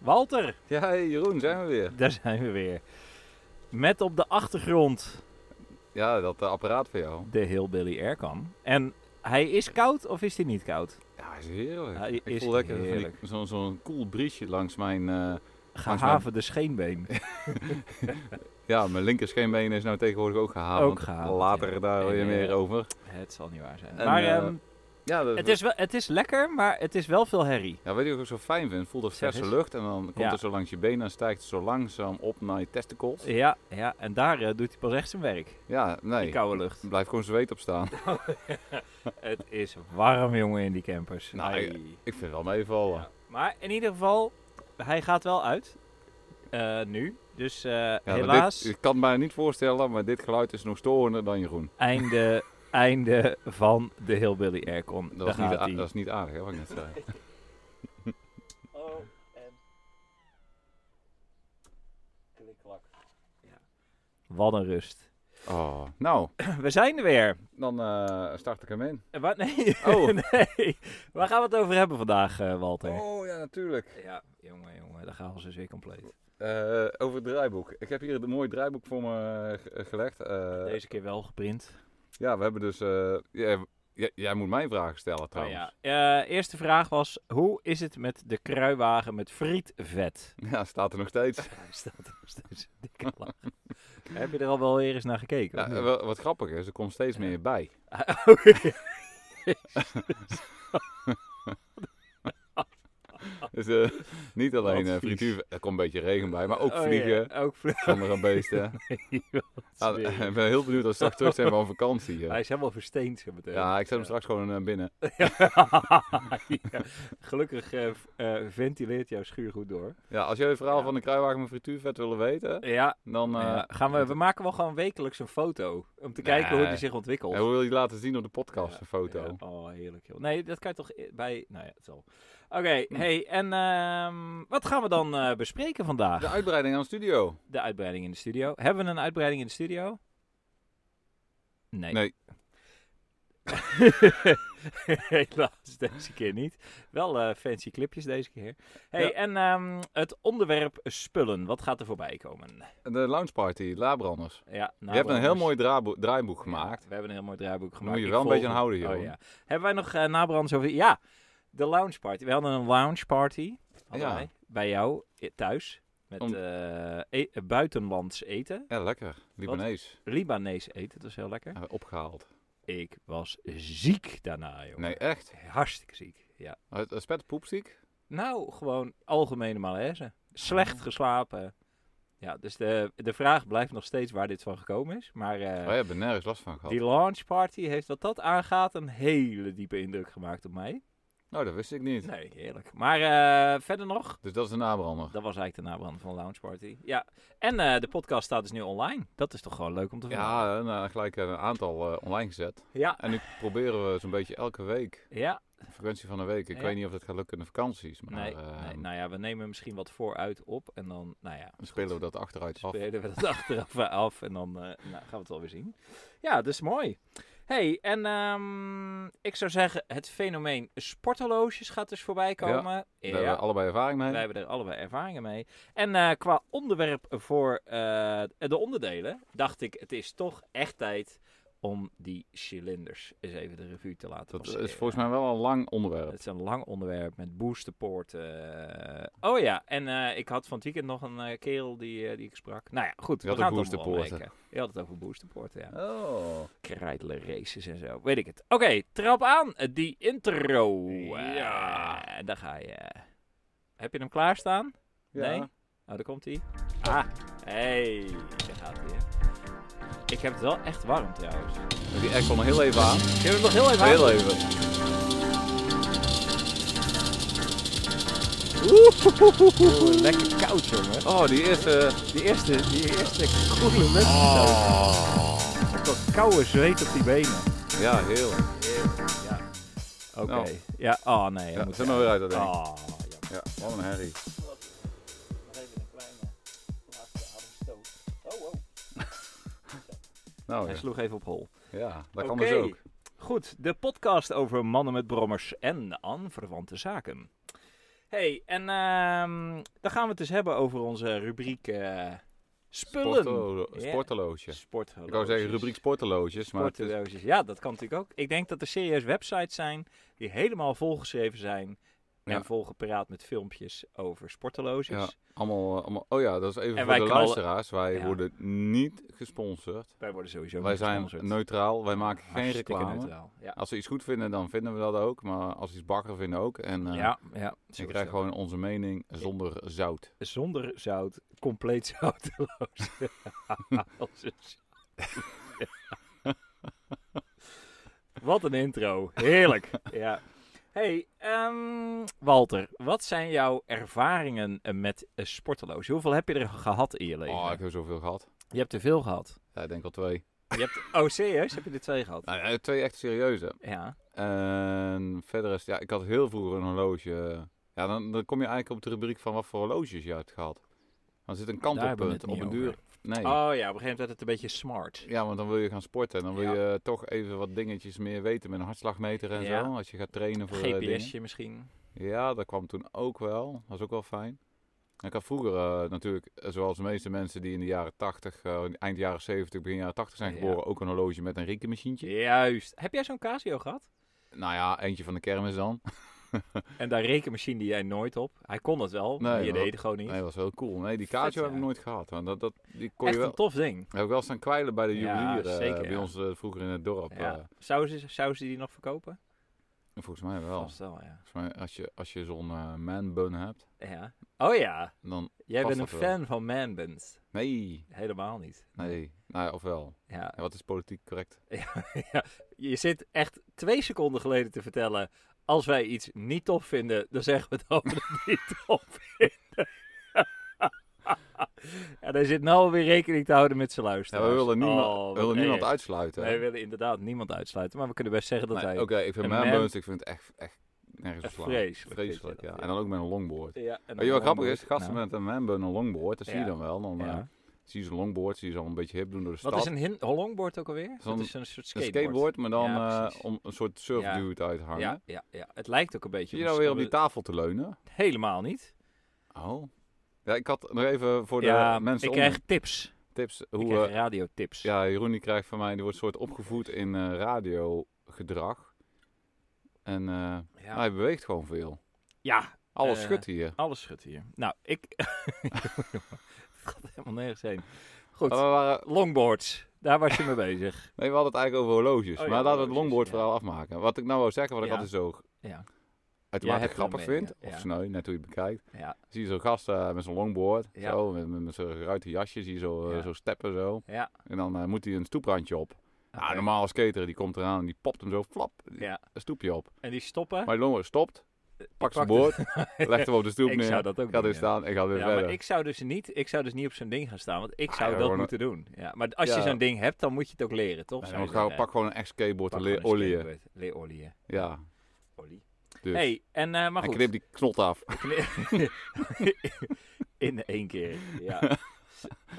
Walter, Ja, hey, Jeroen, zijn we weer. daar zijn we weer. Met op de achtergrond Ja, dat eh, apparaat van jou. de Hillbilly Aircam. En hij is koud of is hij niet koud? Ja, is heerlijk. Ja, ik is voel lekker van die- heerlijk. zo'n zo'n koel briesje langs mijn... eh, Gehavende scheenbeen. ja, mijn linker scheenbeen is nou tegenwoordig ook gehaald. Ook gehavend, Later ja. daar weer En, meer eh, over. Het zal niet waar zijn. En, maar eh, ehm, Ja, dat, het, is wel, het is lekker, maar het is wel veel herrie. ja, weet je wat ik zo fijn vind? Voel dat Zeg verse eens. lucht en dan komt Ja. het zo langs je benen en stijgt het zo langzaam op naar je testicles. Ja, ja en daar eh, doet hij pas echt zijn werk. Ja, Die nee. koude lucht. Blijf gewoon zweet op staan. Het is warm, jongen, in die campers. Nou, Ai. ik vind het wel meevallen. Ja. Maar in ieder geval, hij gaat wel uit. Eh, nu. Dus eh, Ja, maar helaas, dit- ik kan het mij niet voorstellen, maar dit geluid is nog storender dan Jeroen. einde, einde van de Hillbilly Aircon. Dat, Daar was niet, gaat a- hij. dat is niet aardig, hè, wat ik net zei. Oh, en... Klikklak. Wat een rust. Oh, nou, We zijn er weer. dan eh, start ik hem in. Eh, Wat? Nee. Oh. nee. Waar gaan we het over hebben vandaag, eh, Walter? Oh ja, natuurlijk. Ja, jongen, jongen. Daar gaan we dus weer compleet. Eh, over het draaiboek. Ik heb hier een mooi draaiboek voor me eh, ge- gelegd. Eh, Deze keer wel geprint. Ja, we hebben dus. eh, jij, jij- jij moet mij vragen stellen Oh, trouwens. ja. Eh, eerste vraag was: hoe is het met de kruiwagen met frietvet? ja. staat er nog steeds. Hij staat er nog steeds een dikke lach. Heb je er al wel weer eens naar gekeken? Ja, eh, of niet? Oh, wa- wat grappig is, er komt steeds meer bij. Dus eh, niet alleen Oh. Wat eh, vies. frituur, er komt een beetje regen bij, maar ook Oh, ja, vliegen. Ook vliegen. Zonder een beesten. Wat Ah, smerig. ik ben heel benieuwd als we straks terug zijn van vakantie. eh. Hij is eh, helemaal versteend, zo meteen. Ja, ik zet hem straks gewoon eh, binnen. Ja. Gelukkig eh, v- eh, ventileert jouw schuur goed door. Ja, als jullie het verhaal Ja. van de kruiwagen met frituurvet willen weten, Ja, dan... eh, ja, gaan we, we maken wel gewoon wekelijks een foto. Om te kijken hoe Nee. die zich ontwikkelt. en hoe wil je die laten zien op de podcast, Ja, een foto? Ja, Oh, heerlijk. Joh. Nee, dat kan je toch i- bij... Nou ja, het zal. Oké, Hm. hey, en ehm, wat gaan we dan eh, bespreken vandaag? De uitbreiding aan de studio. De uitbreiding in de studio. Hebben we een uitbreiding in de studio? Nee. Nee. Helaas, deze keer niet. Wel eh, fancy clipjes deze keer. hey, Ja. en ehm, het onderwerp spullen. Wat gaat er voorbij komen? De lounge party, Labranders. Ja, Je hebt een heel mooi draaibo- draaiboek gemaakt. we hebben een heel mooi draaiboek gemaakt. moet je Ik wel een volg beetje aan hem. houden, Oh, Jeroen. ja. Hebben wij nog eh nabranders over... Ja, de lounge party. We hadden een lounge party hadden Ja. wij, bij jou i- thuis. Met Om- eh, e- buitenlands eten. Ja, lekker. Libanees. Libanees eten, dat was heel lekker. Hebben we Opgehaald. Ik was ziek daarna, jongen. Nee, echt. Hartstikke ziek, ja. Het het spet poepstiek. Nou, gewoon algemene malaise. Slecht geslapen. Ja, dus de, de vraag blijft nog steeds waar dit van gekomen is. Maar eh, Wij hebben nergens last van gehad. die launch party heeft wat dat aangaat een hele diepe indruk gemaakt op mij. Nou, dat wist ik niet. Nee, heerlijk. Maar eh, verder nog, Dus dat is een nabrander. dat was eigenlijk de nabrand van de launch party. Ja, en eh, de podcast staat dus nu online. Dat is toch gewoon leuk om te vermelden. Ja, en, eh, gelijk een aantal eh, online gezet. Ja, En nu proberen we zo'n beetje elke week ja. Frequentie van de week. Ik Ja. weet niet of dat gaat lukken in de vakanties. Maar Nee, ehm, nee, nou ja, we nemen misschien wat vooruit op en dan, nou ja, dan spelen we dat achteruit af. spelen we dat achteraf af en dan eh, nou, gaan we het wel weer zien. Ja, dat is mooi. hey, en ehm, ik zou zeggen, het fenomeen sporthorloges gaat dus voorbij komen. Ja, Daar hebben we allebei ervaring mee. wij hebben er allebei ervaringen mee. En eh, qua onderwerp voor eh, de onderdelen, dacht ik, het is toch echt tijd om die cilinders eens even de revue te laten Dat is passeren. volgens mij wel een lang onderwerp. Het is een lang onderwerp met boosterpoorten. oh ja, en eh, ik had van het weekend nog een eh, kerel die, eh, die ik sprak. Nou ja, goed. Je we had gaan ook het allemaal boosterpoorten. merken. Je had het over boosterpoorten, ja. Oh. Krijtelen races en zo, weet ik het. Oké, trap aan, eh, die intro. Ja. En daar ga je. Heb je hem klaarstaan? Ja. Nee? Nou, daar komt hij. Ah, hey, daar gaat hij. hè. Ik heb het wel echt warm trouwens. Doe Die aircon nog heel even aan. Ik heb het nog heel even aan. Heel even. Oeh, lekker koud, jongen. Oh, die eerste... Die eerste, die eerste koele mensen. koude zweet op die benen. Ja, heel. Ja. Oké. Nou. Ja, oh nee. Ja, zet maar weer uit dat ding. Oh, jammer. Ja, wat een herrie. Even een kleine laatste ademstoot. Oh, wow. Nou Hij ja, sloeg even op hol. ja dat kan Oké. dus ook. Goed, de podcast over mannen met brommers en aanverwante zaken. hey, en ehm, dan gaan we het dus hebben over onze rubriek eh, spullen. Sportelo- Ja. Sporteloge. Sporthorloges. Ik wou zeggen rubriek sporteloges, maar het is- Sporthorloges. Ja, dat kan natuurlijk ook. Ik denk dat er serieus websites zijn die helemaal volgeschreven zijn. Ja. En volgeparaat met filmpjes over sporthorloges. Ja. allemaal, eh, allemaal... Oh ja, dat is even En voor wij de knallen- luisteraars. Wij Ja. worden niet gesponsord. Wij worden sowieso Wij niet zijn gesponsord. neutraal. Wij maken geen Hartstikke reclame. neutraal. Ja. Als we iets goed vinden, dan vinden we dat ook. Maar als we iets bakken, vinden we ook. En eh ja, ja. zo je is krijgt dat. gewoon onze mening zonder zout. Zonder zout, compleet zouteloos. Onze zout. wat een intro. Heerlijk. Ja. Hey, ehm, Walter, wat zijn jouw ervaringen eh, met eh, sporteloos? Hoeveel heb je er gehad in je leven? Oh, ik heb zoveel gehad. Je hebt er veel gehad. Ja, ik denk al twee. Je hebt... Oh, serieus? Heb je er twee gehad? Nou, ja, twee echt serieuze. Ja. En verder is, ja, ik had heel vroeger een horloge. Ja, dan, dan kom je eigenlijk op de rubriek van wat voor horloges je hebt gehad. Dan zit een Daar hebben we kantelpunt het op niet een duur. over. Nee. Oh ja, op een gegeven moment werd het een beetje smart. Ja, want dan wil je gaan sporten. En dan wil Ja. je eh, toch even wat dingetjes meer weten met een hartslagmeter en Ja. zo. Als je gaat trainen voor eh, dingen. GPSje misschien. Ja, dat kwam toen ook wel. Dat was ook wel fijn. En Ik had vroeger eh, natuurlijk, eh, zoals de meeste mensen die in de jaren 80, eh, eind jaren 70, begin jaren 80 zijn Ja. geboren, ook een horloge met een rekenmachientje. Juist. Heb jij zo'n Casio gehad? Nou ja, eentje van de kermis dan. En daar rekenmachine die jij nooit op. Hij kon het wel, maar Nee, je maar- deed het gewoon niet. Nee, was heel cool. Nee, die Vet, Casio heb ja. ik nooit gehad. Want dat, dat, die kon Echt je wel, een tof ding. heb ik wel staan kwijlen bij de Ja, juwelier eh, zeker, bij ja. ons eh, vroeger in het dorp. eh. Ja. Zouden, ze, zouden ze die nog verkopen? volgens mij wel. Vast wel, ja. Volgens mij, als je, als je zo'n eh, man bun hebt, ja. Oh ja, dan... jij Past bent een dat wel? fan van Man Buns. Nee, Helemaal niet. nee. Nou ja, ofwel. Ja. Ja, wat is politiek correct? ja. Je zit echt twee seconden geleden te vertellen... als wij iets niet tof vinden, dan zeggen we dat we het niet tof vinden. en hij zit nou weer rekening te houden met zijn Ja, luisteraars. we willen, niema- Oh, we willen wat niemand erg. uitsluiten. hè? Wij willen inderdaad niemand uitsluiten, maar we kunnen best zeggen dat Nee, hij... Oké, ik vind een mijn man- buns, ik vind het echt, echt nergens op Echt slaan. vreselijk vind je Vreselijk, dat, ja. ja. En dan ook met een longboard. Ja, en dan Weet je wat gewoon grappig is? door- Gasten nou, met een manbun en een longboard, dat zie Ja. je dan wel. Dan eh, ja. zie je zo'n longboard, zie je zo'n beetje hip doen door de stad. Wat is een hin- longboard ook alweer? Zo'n- dat is een soort Een skateboard. skateboard, maar dan Ja, eh, precies. om een soort surfdude uit te hangen. Ja, ja, ja, het lijkt ook een beetje... Zie je op nou een- weer op die tafel te leunen? Helemaal niet. Oh. Ja, ik had nog even voor de ja, mensen ik onder- krijg tips. tips Ik hoe... krijg eh, radiotips. ja, Jeroen die krijgt van mij, die wordt soort opgevoed in eh, radiogedrag. En eh, ja. hij beweegt gewoon veel. Ja, Alles Eh, schudt hier. alles schudt hier. Nou, ik... het gaat helemaal nergens heen. Goed, Maar we waren, longboards. Daar was je mee bezig. Nee, we hadden het eigenlijk over horloges. Oh ja, maar laten we het horloges, longboard ja. verhaal afmaken. Wat ik nou wou zeggen, wat ik Ja. altijd zo Ja. Jij uitermate hebt grappig wel meningen, vind, ja. of sneu, net hoe je het bekijkt. Ja, Zie je zo'n gast eh, met zo'n longboard, Ja. zo, met, met, met zo'n ruiten jasje, zie je zo, eh, Ja. zo steppen zo. ja. En dan eh, moet hij een stoeprandje op. oké. Nou, normaal skater, die komt eraan en die popt hem zo, flap, Ja. een stoepje op. En die stoppen. Maar die longboard stopt, pakt zijn pakt boord, legt hem op de stoep Ik neer, zou dat ook gaat doen, weer ja. staan en gaat weer Ja, verder. maar ik zou dus niet, ik zou dus niet op zo'n ding gaan staan, want ik Ah, zou ja, dat gewoon moeten doen. Ja, maar als je Ja. zo'n ding hebt, dan moet je het ook leren, toch? En Zou dan je gaan we- zeggen. pak gewoon een echt skateboard en Pak leer gewoon een olieën. skateboard. Leer olieën. Ja, Olie. dus. hey, en eh, maar en goed. knip die knot af. Knip- in één keer. Ja.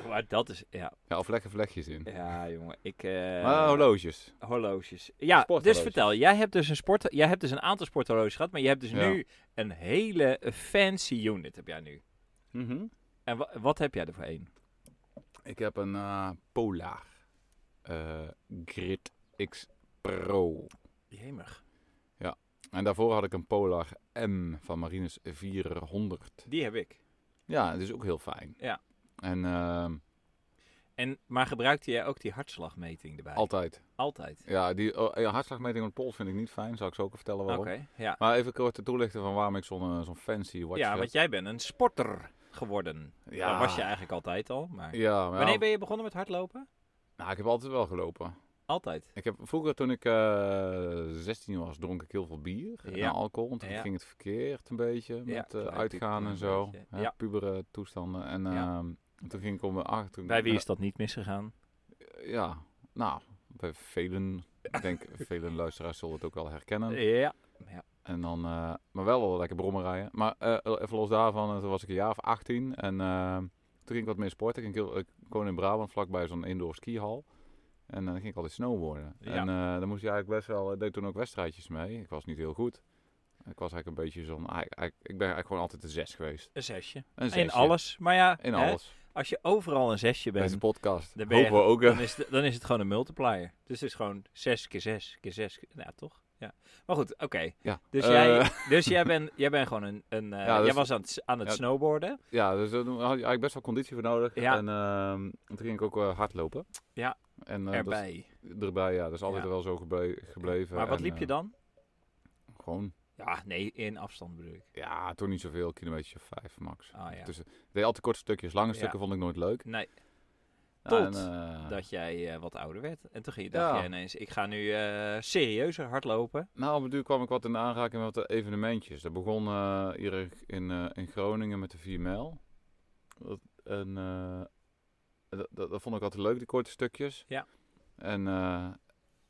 maar dat is, ja, Ja, of leg er vlechtjes in. ja jongen, ik... eh, maar horloges. horloges. Ja, dus Sporthorloges. vertel, jij hebt dus, een sport, jij hebt dus een aantal sporthorloges gehad, maar je hebt dus Ja. nu een hele fancy unit, heb jij nu. Mhm. En wa- wat heb jij er voor een? Ik heb een eh, Polar eh, Grid X Pro. Jemig. En daarvoor had ik een Polar M van Marinus 400. Die heb ik. Ja, dat is ook heel fijn. Ja. En ehm, En, maar gebruikte jij ook die hartslagmeting erbij? altijd. Altijd. Ja, die oh, ja, hartslagmeting op de pols vind ik niet fijn. Zal ik zo ook vertellen Oké, waarom. ja. Maar even kort toelichten van waarom ik zo'n eh, zo'n fancy watch Ja, heb. want jij bent een sporter geworden. Ja. Dat was je eigenlijk altijd al. Maar... Ja, maar ja, Wanneer ben je begonnen met hardlopen? nou, ik heb altijd wel gelopen. Altijd. Ik heb, vroeger, toen ik eh, 16 was, dronk ik heel veel bier Ja. en alcohol. En toen Ja. ging het verkeerd een beetje met eh, toen wij uitgaan puberten en een zo. beetje. Hè, Ja. Pubere toestanden. En Ja. ehm, toen ging ik om mijn acht. toen- Bij wie is dat niet misgegaan? Eh, ja, nou, bij velen. Ik denk, vele luisteraars zullen het ook wel herkennen. Ja. En dan, eh, maar wel wel lekker brommen rijden. Maar eh, even los daarvan, eh, toen was ik een jaar of 18. En eh, toen ging ik wat meer sporten. Ik, ging heel- ik woonde in Brabant, vlakbij zo'n indoor skihal. En eh, dan ging ik altijd snowboarden. Ja. eh, En eh dan moest je eigenlijk best wel, ik deed toen ook wedstrijdjes mee. Ik was niet heel goed. Ik was eigenlijk een beetje zo'n... ah, ik- ik ik ben eigenlijk gewoon altijd een zes geweest. Een zesje. Een In zesje. alles. Maar ja, In hè, alles. als je overal een zesje Deze bent, podcast. dan Hopen ben je- we ook. eh, dan is, het, dan is het gewoon een multiplier. Dus het is gewoon 6 keer 6 keer 6. Ja, toch? Ja. Maar goed, oké. ja. Dus, Eh, jij, dus jij bent jij bent gewoon een. een eh, Ja, dus- jij was aan het, aan het ja. snowboarden. Ja, dus daar had ik eigenlijk best wel conditie voor nodig. Ja. En ehm, toen ging ik ook eh, hardlopen. Ja. En, eh, dat- erbij. erbij, ja. Dat is altijd Ja. wel zo geble- gebleven. maar wat En, liep je eh, dan? Gewoon, Ja, nee, in afstand bedoel ik. ja, toen niet zoveel. Kilometertje of vijf max. Ah ja. Dus ik deed altijd korte stukjes. Lange Ja. stukken vond ik nooit leuk. nee, Ja, Tot eh, dat jij eh, wat ouder werd. En toen ging je, dacht Ja. jij ineens, ik ga nu eh, serieuzer hardlopen. Nou, op het duur kwam ik wat in aanraking met wat eh, evenementjes. Dat begon eh, hier in, eh, in Groningen met de 4 mijl. Dat, en, eh, dat, dat, dat vond ik altijd leuk, die korte stukjes. Ja. En eh,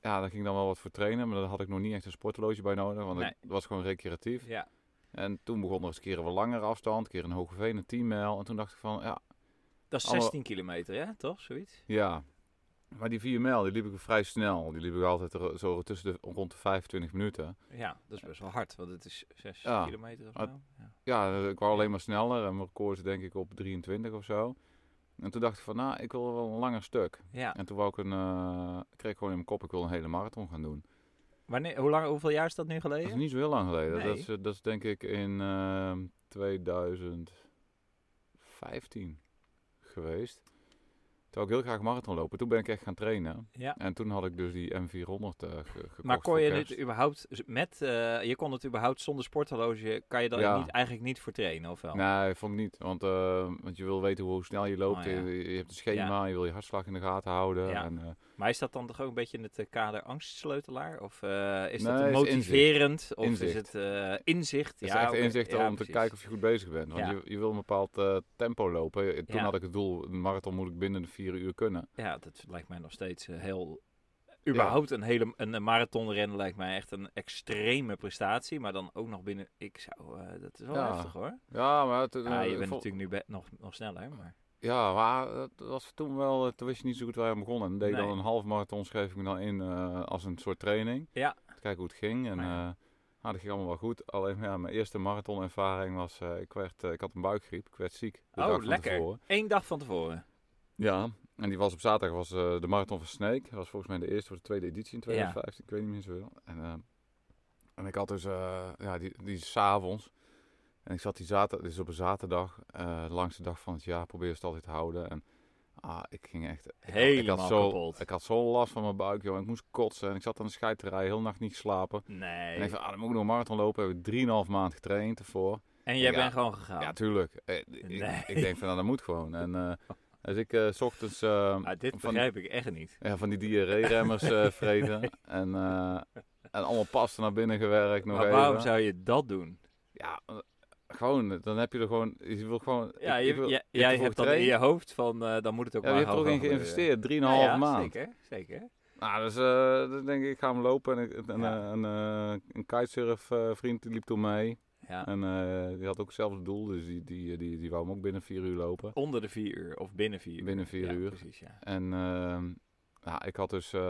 ja, daar ging ik dan wel wat voor trainen. Maar daar had ik nog niet echt een sportloge bij nodig. Want Nee. het was gewoon recreatief. Ja, En toen begon er eens een keer een wat langere afstand. Een keer een Hogeveen, een 10 mijl. En toen dacht ik van, ja, dat is Alle- 16 kilometer, hè? Toch? Zoiets? ja. Maar die 4 mijl, die liep ik vrij snel. Die liep ik altijd ro- zo tussen de, rond de 25 minuten. Ja, dat is best wel hard, want het is 6 Ja. kilometer of Maar- zo. Ja. Ja, ik wou alleen maar sneller. En mijn record is denk ik op 23 of zo. En toen dacht ik van, nou, ik wil wel een langer stuk. Ja. En toen wou ik een, eh, kreeg ik gewoon in mijn kop, ik wil een hele marathon gaan doen. Wanneer, hoe lang, hoeveel jaar is dat nu Dat is geleden? niet zo heel lang geleden. Nee. Dat, is, eh, dat is denk ik in ehm, 2015 geweest. Toen wou ik heel graag marathon lopen. Toen ben ik echt gaan trainen. Ja. En toen had ik dus die M400 eh, ge- gekocht. Maar kon voor je kerst. dit überhaupt z- met, eh, je kon het überhaupt zonder sporthorloge, kan je daar Ja. niet, eigenlijk niet voor trainen, of wel? Nee, vond ik niet. Want, eh, want je wil weten hoe snel je loopt. Oh, ja. je, je hebt een schema, je wil je hartslag in de gaten houden. Ja. En, eh, Maar is dat dan toch ook een beetje in het eh, kader angstsleutelaar? Of eh, is dat Nee, is motiverend? Of is Inzicht. het eh, inzicht? Het ja, is echt oké. inzicht Ja, om te precies. kijken of je goed bezig bent. Want Ja. je, je wil een bepaald eh, tempo lopen. Je- Toen Ja. had ik het doel, een marathon moet ik binnen de vier uur kunnen. Ja, dat lijkt mij nog steeds eh, heel... Überhaupt een hele een eh, marathonrennen lijkt mij echt een extreme prestatie. Maar dan ook nog binnen... Ik zou... eh, dat is wel Ja. heftig hoor. Ja, maar, het, Ja, eh, je bent vol- natuurlijk nu be- nog, nog sneller, maar... ja, maar eh, dat was toen wel, eh, toen wist je niet zo goed waar je aan begon. En deed ik Nee. dan een half marathon, schreef ik me dan in eh, als een soort training. Ja. Om te kijken hoe het ging. En Maar ja. eh, ah, dat ging allemaal wel goed. Alleen ja, mijn eerste marathonervaring was, eh, ik, werd, eh, ik had een buikgriep. Ik werd ziek. De Oh, dag van lekker. tevoren. Eén dag van tevoren. Ja, en die was op zaterdag was eh, de Marathon van Sneek. Dat was volgens mij de eerste of de tweede editie in 2015. Ik weet niet meer zoveel. En, eh, en ik had dus, eh, ja, die, die is 's avonds. En ik zat die zaterdag, dus op een zaterdag, eh, de langste dag van het jaar, probeer het altijd te houden. En ah, ik ging echt... ik had- ik Helemaal had, zo, kapot. Ik had zo last van mijn buik, joh. Ik moest kotsen en ik zat aan de scheiterij, heel nacht niet slapen. En ik Nee. van, ah, dan moet ik nog een marathon lopen. Heb ik drieënhalf maand getraind ervoor. En jij Ja. bent gewoon gegaan. Ja, tuurlijk. Eh, Nou. Nee. ik, ik denk van, nou, dat moet gewoon. En eh, dus ik eh, 's ochtends... eh, Ah, dit van- begrijp ik echt niet. Ja, van die diarree-remmers eh, vreten. En, eh, en allemaal pasta naar binnen gewerkt nog Maar even. waarom zou je dat doen? Ja, eh, gewoon, dan heb je er gewoon... Je wil gewoon... Ja, ik- je, ik wil- ja, ik heb jij ervoor hebt dan in getraind. je hoofd van, eh, dan moet het ook Ja, maar je hebt er ook gewoon in gaan gebeuren. geïnvesteerd, 3,5 Ja, ja, maand. Zeker, zeker. Nou, dus eh, dan denk ik, ik ga hem lopen. En ik- en, Ja. eh, een, eh, een kitesurf eh, vriend die liep toen mee. Ja. En eh, die had ook hetzelfde doel, dus die, die, die, die wou hem ook binnen vier uur lopen. Onder de vier uur of binnen vier uur. Binnen vier Ja, uur. Precies, ja. En ehm, nou, ik had dus, eh,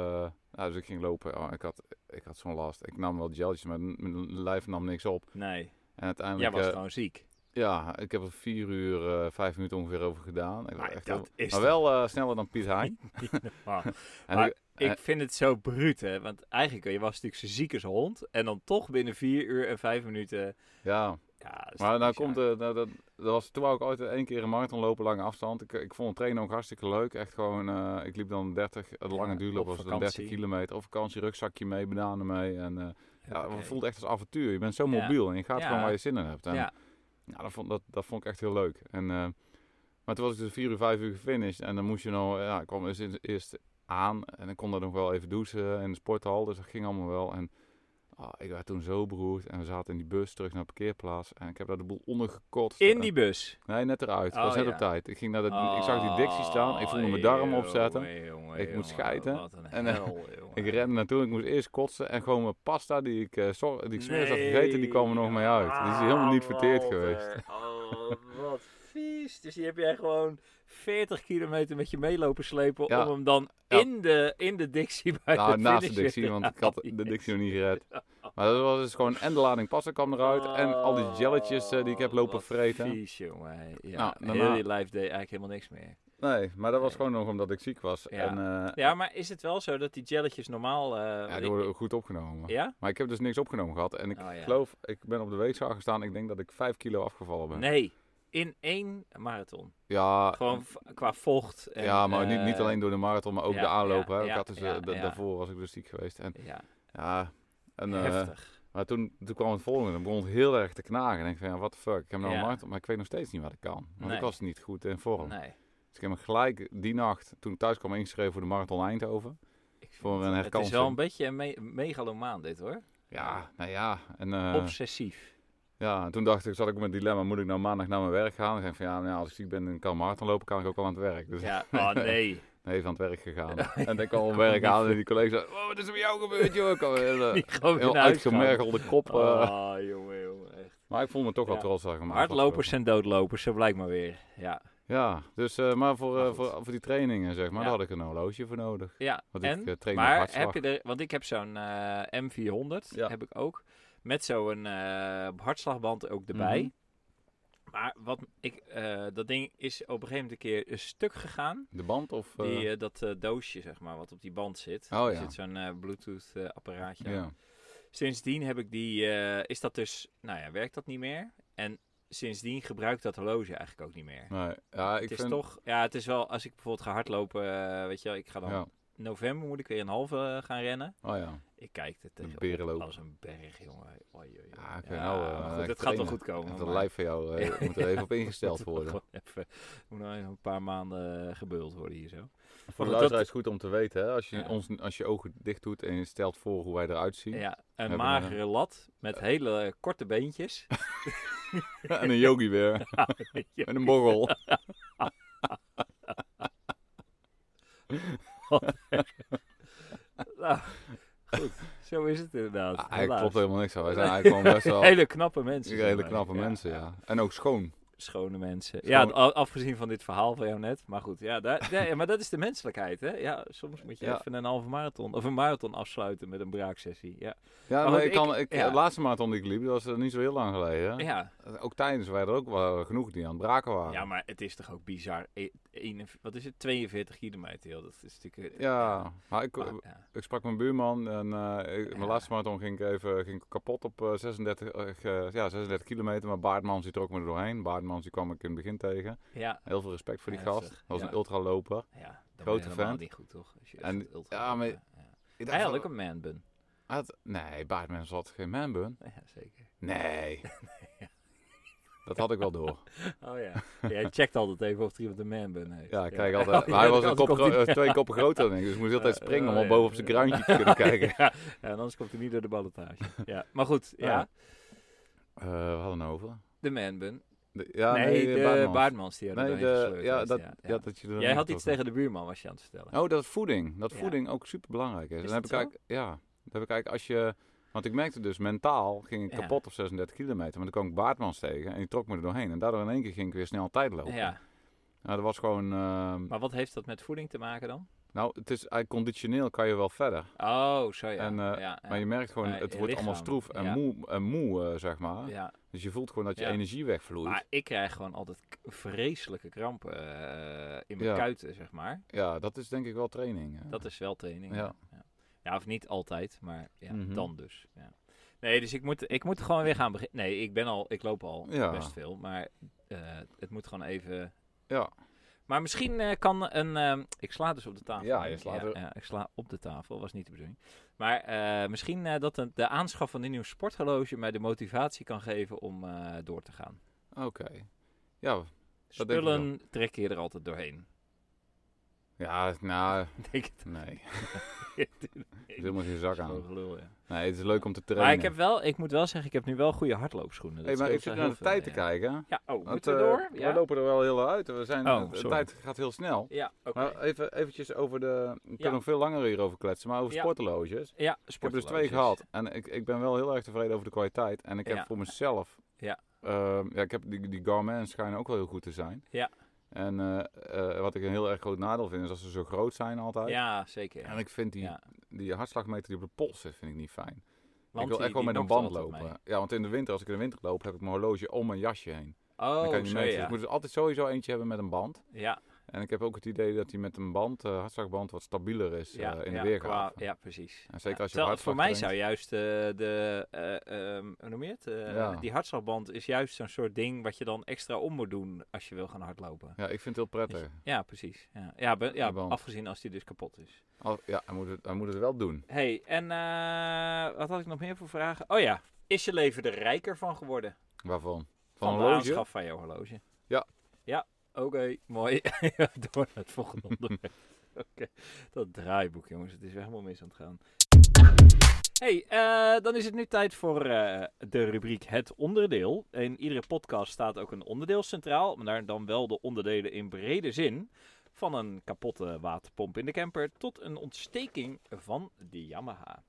nou, dus ik ging lopen. Oh, ik had, ik had zo'n last. Ik nam wel geltjes, maar n- mijn lijf nam niks op. Nee, En jij uiteindelijk, was eh, gewoon ziek. ja, ik heb er vier uur, eh, vijf minuten ongeveer over gedaan. Ik was Maar echt Nou, dat is maar wel eh, sneller dan Piet Hein. niet normaal. En Maar- ik- Eh. Ik vind het zo bruut, hè. Want eigenlijk, eh, je was natuurlijk zo ziek als een hond. En dan toch binnen vier uur en vijf minuten... ja, Ja, dat is maar toch nou bizar. komt, eh, nou, dat, dat was, toen wou ik ooit één keer een marathon lopen, lange afstand. Ik, ik vond het trainen ook hartstikke leuk. Echt gewoon, eh, ik liep dan 30, het lange Ja, duurloop op was dan vakantie. 30 kilometer. Op vakantie, rugzakje mee, bananen mee. En eh, ja, Oké. het voelt echt als avontuur. Je bent zo Ja. mobiel en je gaat Ja. gewoon waar je zin in hebt. En, Ja, Ja, dat vond, dat, dat vond ik echt heel leuk. En, eh, maar toen was ik dus 4 uur, 5 uur gefinished. En dan moest je nou, ja, ik kwam dus in- eerst aan. En ik kon daar nog wel even douchen in de sporthal. Dus dat ging allemaal wel. En ah, ik werd toen zo beroerd. En we zaten in die bus terug naar de parkeerplaats. En ik heb daar de boel ondergekotst. in die bus. Nee, net eruit. Ik Oh, was net ja. op tijd. Ik, ging naar de, eh, ik zag die Dixie staan. Ik voelde mijn darm Oh, opzetten. jongen, jongen, Ik moet jongen, schijten. Wat een En, eh, hel, jongen. Ik rende naartoe. Ik moest eerst kotsen. En gewoon mijn pasta die ik, eh zo- die ik smiddags had Nee. gegeten, die kwam er nog mee uit. Die is helemaal niet verteerd Ah, geweest. Walter. Oh, wat vies. precies. Dus die heb jij gewoon 40 kilometer met je meelopen slepen Ja. om hem dan Ja. in, de, in de Dixie bij Nou, de naast de finish Dixie, weer want te ik had halen. de Dixie nog niet gered. Maar dat was dus gewoon en de lading pasta kwam eruit en al die jelletjes eh, die ik heb Oh, lopen wat vreten. Vies, jongen. hè. Ja, Nou, heel daarna- die live day eigenlijk helemaal niks meer. Nee, maar dat was Nee. gewoon nog omdat ik ziek was. Ja. En eh, Ja, maar is het wel zo dat die jelletjes normaal... eh, ja, die worden ook goed opgenomen. ja? Maar ik heb dus niks opgenomen gehad. En ik Oh, ja. geloof, ik ben op de weegschaal gestaan. Ik denk dat ik 5 kilo afgevallen ben. Nee, in één marathon. Ja, Gewoon v- qua vocht. En, Ah. ja, maar niet, eh, niet alleen door de marathon, maar ook ja, de aanloop. ja, hè. Ik ja, had dus, eh, ja, da- ja. Daarvoor was ik dus ziek geweest. En, Ja, ja, en, eh, heftig. maar toen, toen kwam het volgende. Dan begon het heel erg te knagen. En ik van, ja, what the fuck. Ik heb nou Ja. een marathon, maar ik weet nog steeds niet wat ik kan. Want Nee. ik was niet goed in vorm. Nee. Dus ik heb me gelijk die nacht, toen ik thuis kwam, ingeschreven voor de Marathon Eindhoven. Ik vind Voor een het is wel herkansing. een beetje een me- megalomaan dit hoor. Ja, nou ja. En, eh, Obsessief. Ja, en toen dacht ik, zat ik met het dilemma, moet ik nou maandag naar mijn werk gaan? Ik denk van, ja, nou, ja, als ik ziek ben en kan marathon lopen, kan ik ook al aan het werk. Dus Ja, oh nee. nee, even aan het werk gegaan. En ik kwam op werk aan en die collega zei, oh, wat is er met jou gebeurd, joh? Ik kwam heel, eh, nou Niet gewoon heel naar huis gaan. uitgemergelde kop. eh. Ah, jongen, jongen. Echt. Maar ik voel me toch wel Ja. trots. dat ik hem Hardlopers en doodlopers, zo blijkt maar weer. Ja. Ja, dus, eh, maar voor, eh, Maar goed. voor, voor die trainingen, zeg maar, Ja. daar had ik een horloge voor nodig. ja. Want en? ik eh, train op Maar hartslag. heb je er, want ik heb zo'n eh, M400, Ja. heb ik ook, met zo'n eh, hartslagband ook erbij. Mhm. Maar wat ik, eh, dat ding is op een gegeven moment een keer een stuk gegaan. De band of... eh, Die, eh, dat eh, doosje, zeg maar, wat op die band zit. Oh, Er ja. zit zo'n eh, Bluetooth-apparaatje ja. Sindsdien heb ik die, eh, is dat dus, nou ja, werkt dat niet meer. En sindsdien gebruik ik dat horloge eigenlijk ook niet meer. Nee, ja, Nou, ik het is vind... toch, ja, het is wel, als ik bijvoorbeeld ga hardlopen, eh, weet je wel, ik ga dan, Ja. november moet ik weer een halve eh, gaan rennen. Oh ja. Ik kijk er tegen berenloop. als een berg, jongen. Oei, oei, oei. Ja, oké, nou, eh, maar ik goed, het gaat wel trainen. goed komen. Het maar- lijf van jou eh, moet er even op ingesteld Moet wel worden. gewoon even, moet nog even een paar maanden eh, gebeuld worden hier zo. Voor de Maar goed, luisteraar is goed om te weten, hè? Als, je Ja. ons, als je ogen dicht doet en je stelt voor hoe wij eruit zien. Ja, een Hebben we- eh, magere lat met hele eh, korte beentjes. en een yogi weer. en een borrel. Nou, goed. Zo is het inderdaad. Ah, helaas. eigenlijk klopt helemaal niks aan. Wij zijn eigenlijk gewoon best wel Hele knappe mensen. hele zeg maar. knappe mensen, ja. En ook schoon. Schone mensen. Schone- Ja, a- afgezien van dit verhaal van jou net. Maar goed, ja, daar, daar- ja, maar dat is de menselijkheid, hè? Ja, soms moet je Ja. even een halve marathon of een marathon afsluiten met een braaksessie. Ja, Ja, Maar maar, goed, ik kan, ik- ik, ja. de laatste marathon die ik liep, dat was eh, niet zo heel lang geleden. hè? ja. Ook tijdens waren er ook wel genoeg die aan het braken waren. ja maar het is toch ook bizar. E- een- wat is het? 42 kilometer, joh. Dat is natuurlijk... eh, Ja, maar ik, maar, ja. ik sprak mijn buurman en eh, ik- mijn Ja. laatste marathon ging ik even ging ik kapot op eh, 36, eh, ja, 36 kilometer. Maar Baardmans die trok me er doorheen. Baardmans die kwam ik in het begin tegen. ja, Heel veel respect voor die Heftig, gast. Dat was ja. een ultraloper. ja. Dan Grote ben je helemaal fan. niet goed, toch? Als je En- echt ultra- ja, maar- ja. Eigenlijk een man bun. Hij had- nee, Baardmans had geen manbun. Ja, zeker. Nee. Dat had ik wel door. Oh ja. Jij checkt altijd even of er iemand een man bun heeft. Ja, ik kijk altijd. Maar hij was een kop, gro- eh, twee koppen groter dan ik. Dus ik moest altijd Eh, springen om oh al ja. boven op zijn kruintje te kunnen kijken. ja, en anders komt hij niet door de ballotage. Ja. Maar goed, ja. Ja. Eh, we hadden het over. De manbun. De- ja, nee, de Baardmans, Baardmans. die hadden Nee, nee, de, ja, dat, ja. dat je er Jij niet had iets over- tegen de buurman, was je aan het vertellen. Oh, dat voeding. Dat Ja. voeding ook super belangrijk is. Is dan heb dat ik eigenlijk, ja, dat heb ik eigenlijk als je. Want ik merkte dus mentaal ging ik Ja. kapot op 36 kilometer. Maar dan kwam ik Baardmans tegen en die trok me er doorheen. En daardoor in één keer ging ik weer snel tijd lopen. ja. Nou, dat was gewoon. ehm, Maar wat heeft dat met voeding te maken dan? nou, het is eigenlijk conditioneel kan je wel verder. Oh, zo ja. En, eh, ja, ja. Maar je merkt gewoon, Maar het je wordt allemaal lichaam, stroef en ja. moe, en moe eh, zeg maar. ja. Dus je voelt gewoon dat je Ja. energie wegvloeit. Maar ik krijg gewoon altijd k- vreselijke krampen eh, in mijn Ja. kuiten, zeg maar. Ja, dat is denk ik wel training. eh. Dat is wel training. Ja. ja. Ja, of niet altijd, maar ja, Mhm. dan dus. Ja. Nee, dus ik moet, ik moet gewoon weer gaan beginnen. Nee, ik ben al, ik loop al Ja. best veel, maar eh, het moet gewoon even. Ja. Maar misschien eh, kan een. ehm, ik sla dus op de tafel. Ja, hè? je slaat er- ja, ik sla op de tafel, was niet de bedoeling. Maar eh, misschien eh, dat een, de aanschaf van een nieuw sporthorloge mij de motivatie kan geven om eh, door te gaan. Oké. Ja, denk ik wel. Spullen trek je er altijd doorheen. ja, nou, Denk het. nee. Er zit Is helemaal geen zak gewoon aan. gelul, ja. Nee, het is leuk om te trainen. Maar ik, heb wel, ik moet wel zeggen, ik heb nu wel goede hardloopschoenen. hey, Dat maar ik zit scheelt naar wel de heel tijd te veel, kijken. ja. Ja, oh, Want, moeten we eh, door? We Ja, lopen er wel heel uit. We zijn, Oh, de sorry. tijd gaat heel snel. ja oké. Maar eh, even eventjes over de... We kunnen nog veel langer hierover kletsen, maar over Ja. sporthorloges. Ja, Ik heb dus sporthorloges. twee gehad. En ik, ik ben wel heel erg tevreden over de kwaliteit. En ik heb Ja. voor mezelf Ja. eh, ehm, ja, ik heb die, die Garmin schijnen ook wel heel goed te zijn. Ja. En eh, eh, wat ik een heel erg groot nadeel vind, is dat ze zo groot zijn altijd. Ja, zeker. En ik vind die, Ja. die hartslagmeter die op de pols zit, vind ik niet fijn. Want ik die- wil echt wel die met een knokt band altijd lopen. mee. Ja, want in de winter, als ik in de winter loop, heb ik mijn horloge om mijn jasje heen. dan kan Oh, je niet zo meten. Dus ja. ik moet dus altijd sowieso eentje hebben met een band. Ja, En ik heb ook het idee dat die met een band, eh hartslagband, wat stabieler is ja, eh, in ja, de weergave. qua- ja, precies. En zeker Ja, als je terwijl op voor hartslag mij traint. zou juist eh, de, eh, ehm, hoe noem je het? Eh, Ja. Die hartslagband is juist zo'n soort ding wat je dan extra om moet doen als je wil gaan hardlopen. Ja, ik vind het heel prettig. Ja, precies. Ja, ja, be- ja Die band. afgezien als die dus kapot is. Al- ja, hij moet, het, hij moet het wel doen. hey, en eh, wat had ik nog meer voor vragen? Oh ja, is je leven er rijker van geworden? Waarvan? Van, Van, een de horloge? aanschaf van je horloge. Ja. Ja, oké, mooi. Door naar het volgende onderwerp. Oké, dat draaiboek jongens, het is weer helemaal mis aan het gaan. hey, eh, dan is het nu tijd voor eh, de rubriek Het Onderdeel. In iedere podcast staat ook een onderdeel centraal, maar daar dan wel de onderdelen in brede zin. Van een kapotte waterpomp in de camper tot een ontsteking van de Yamaha.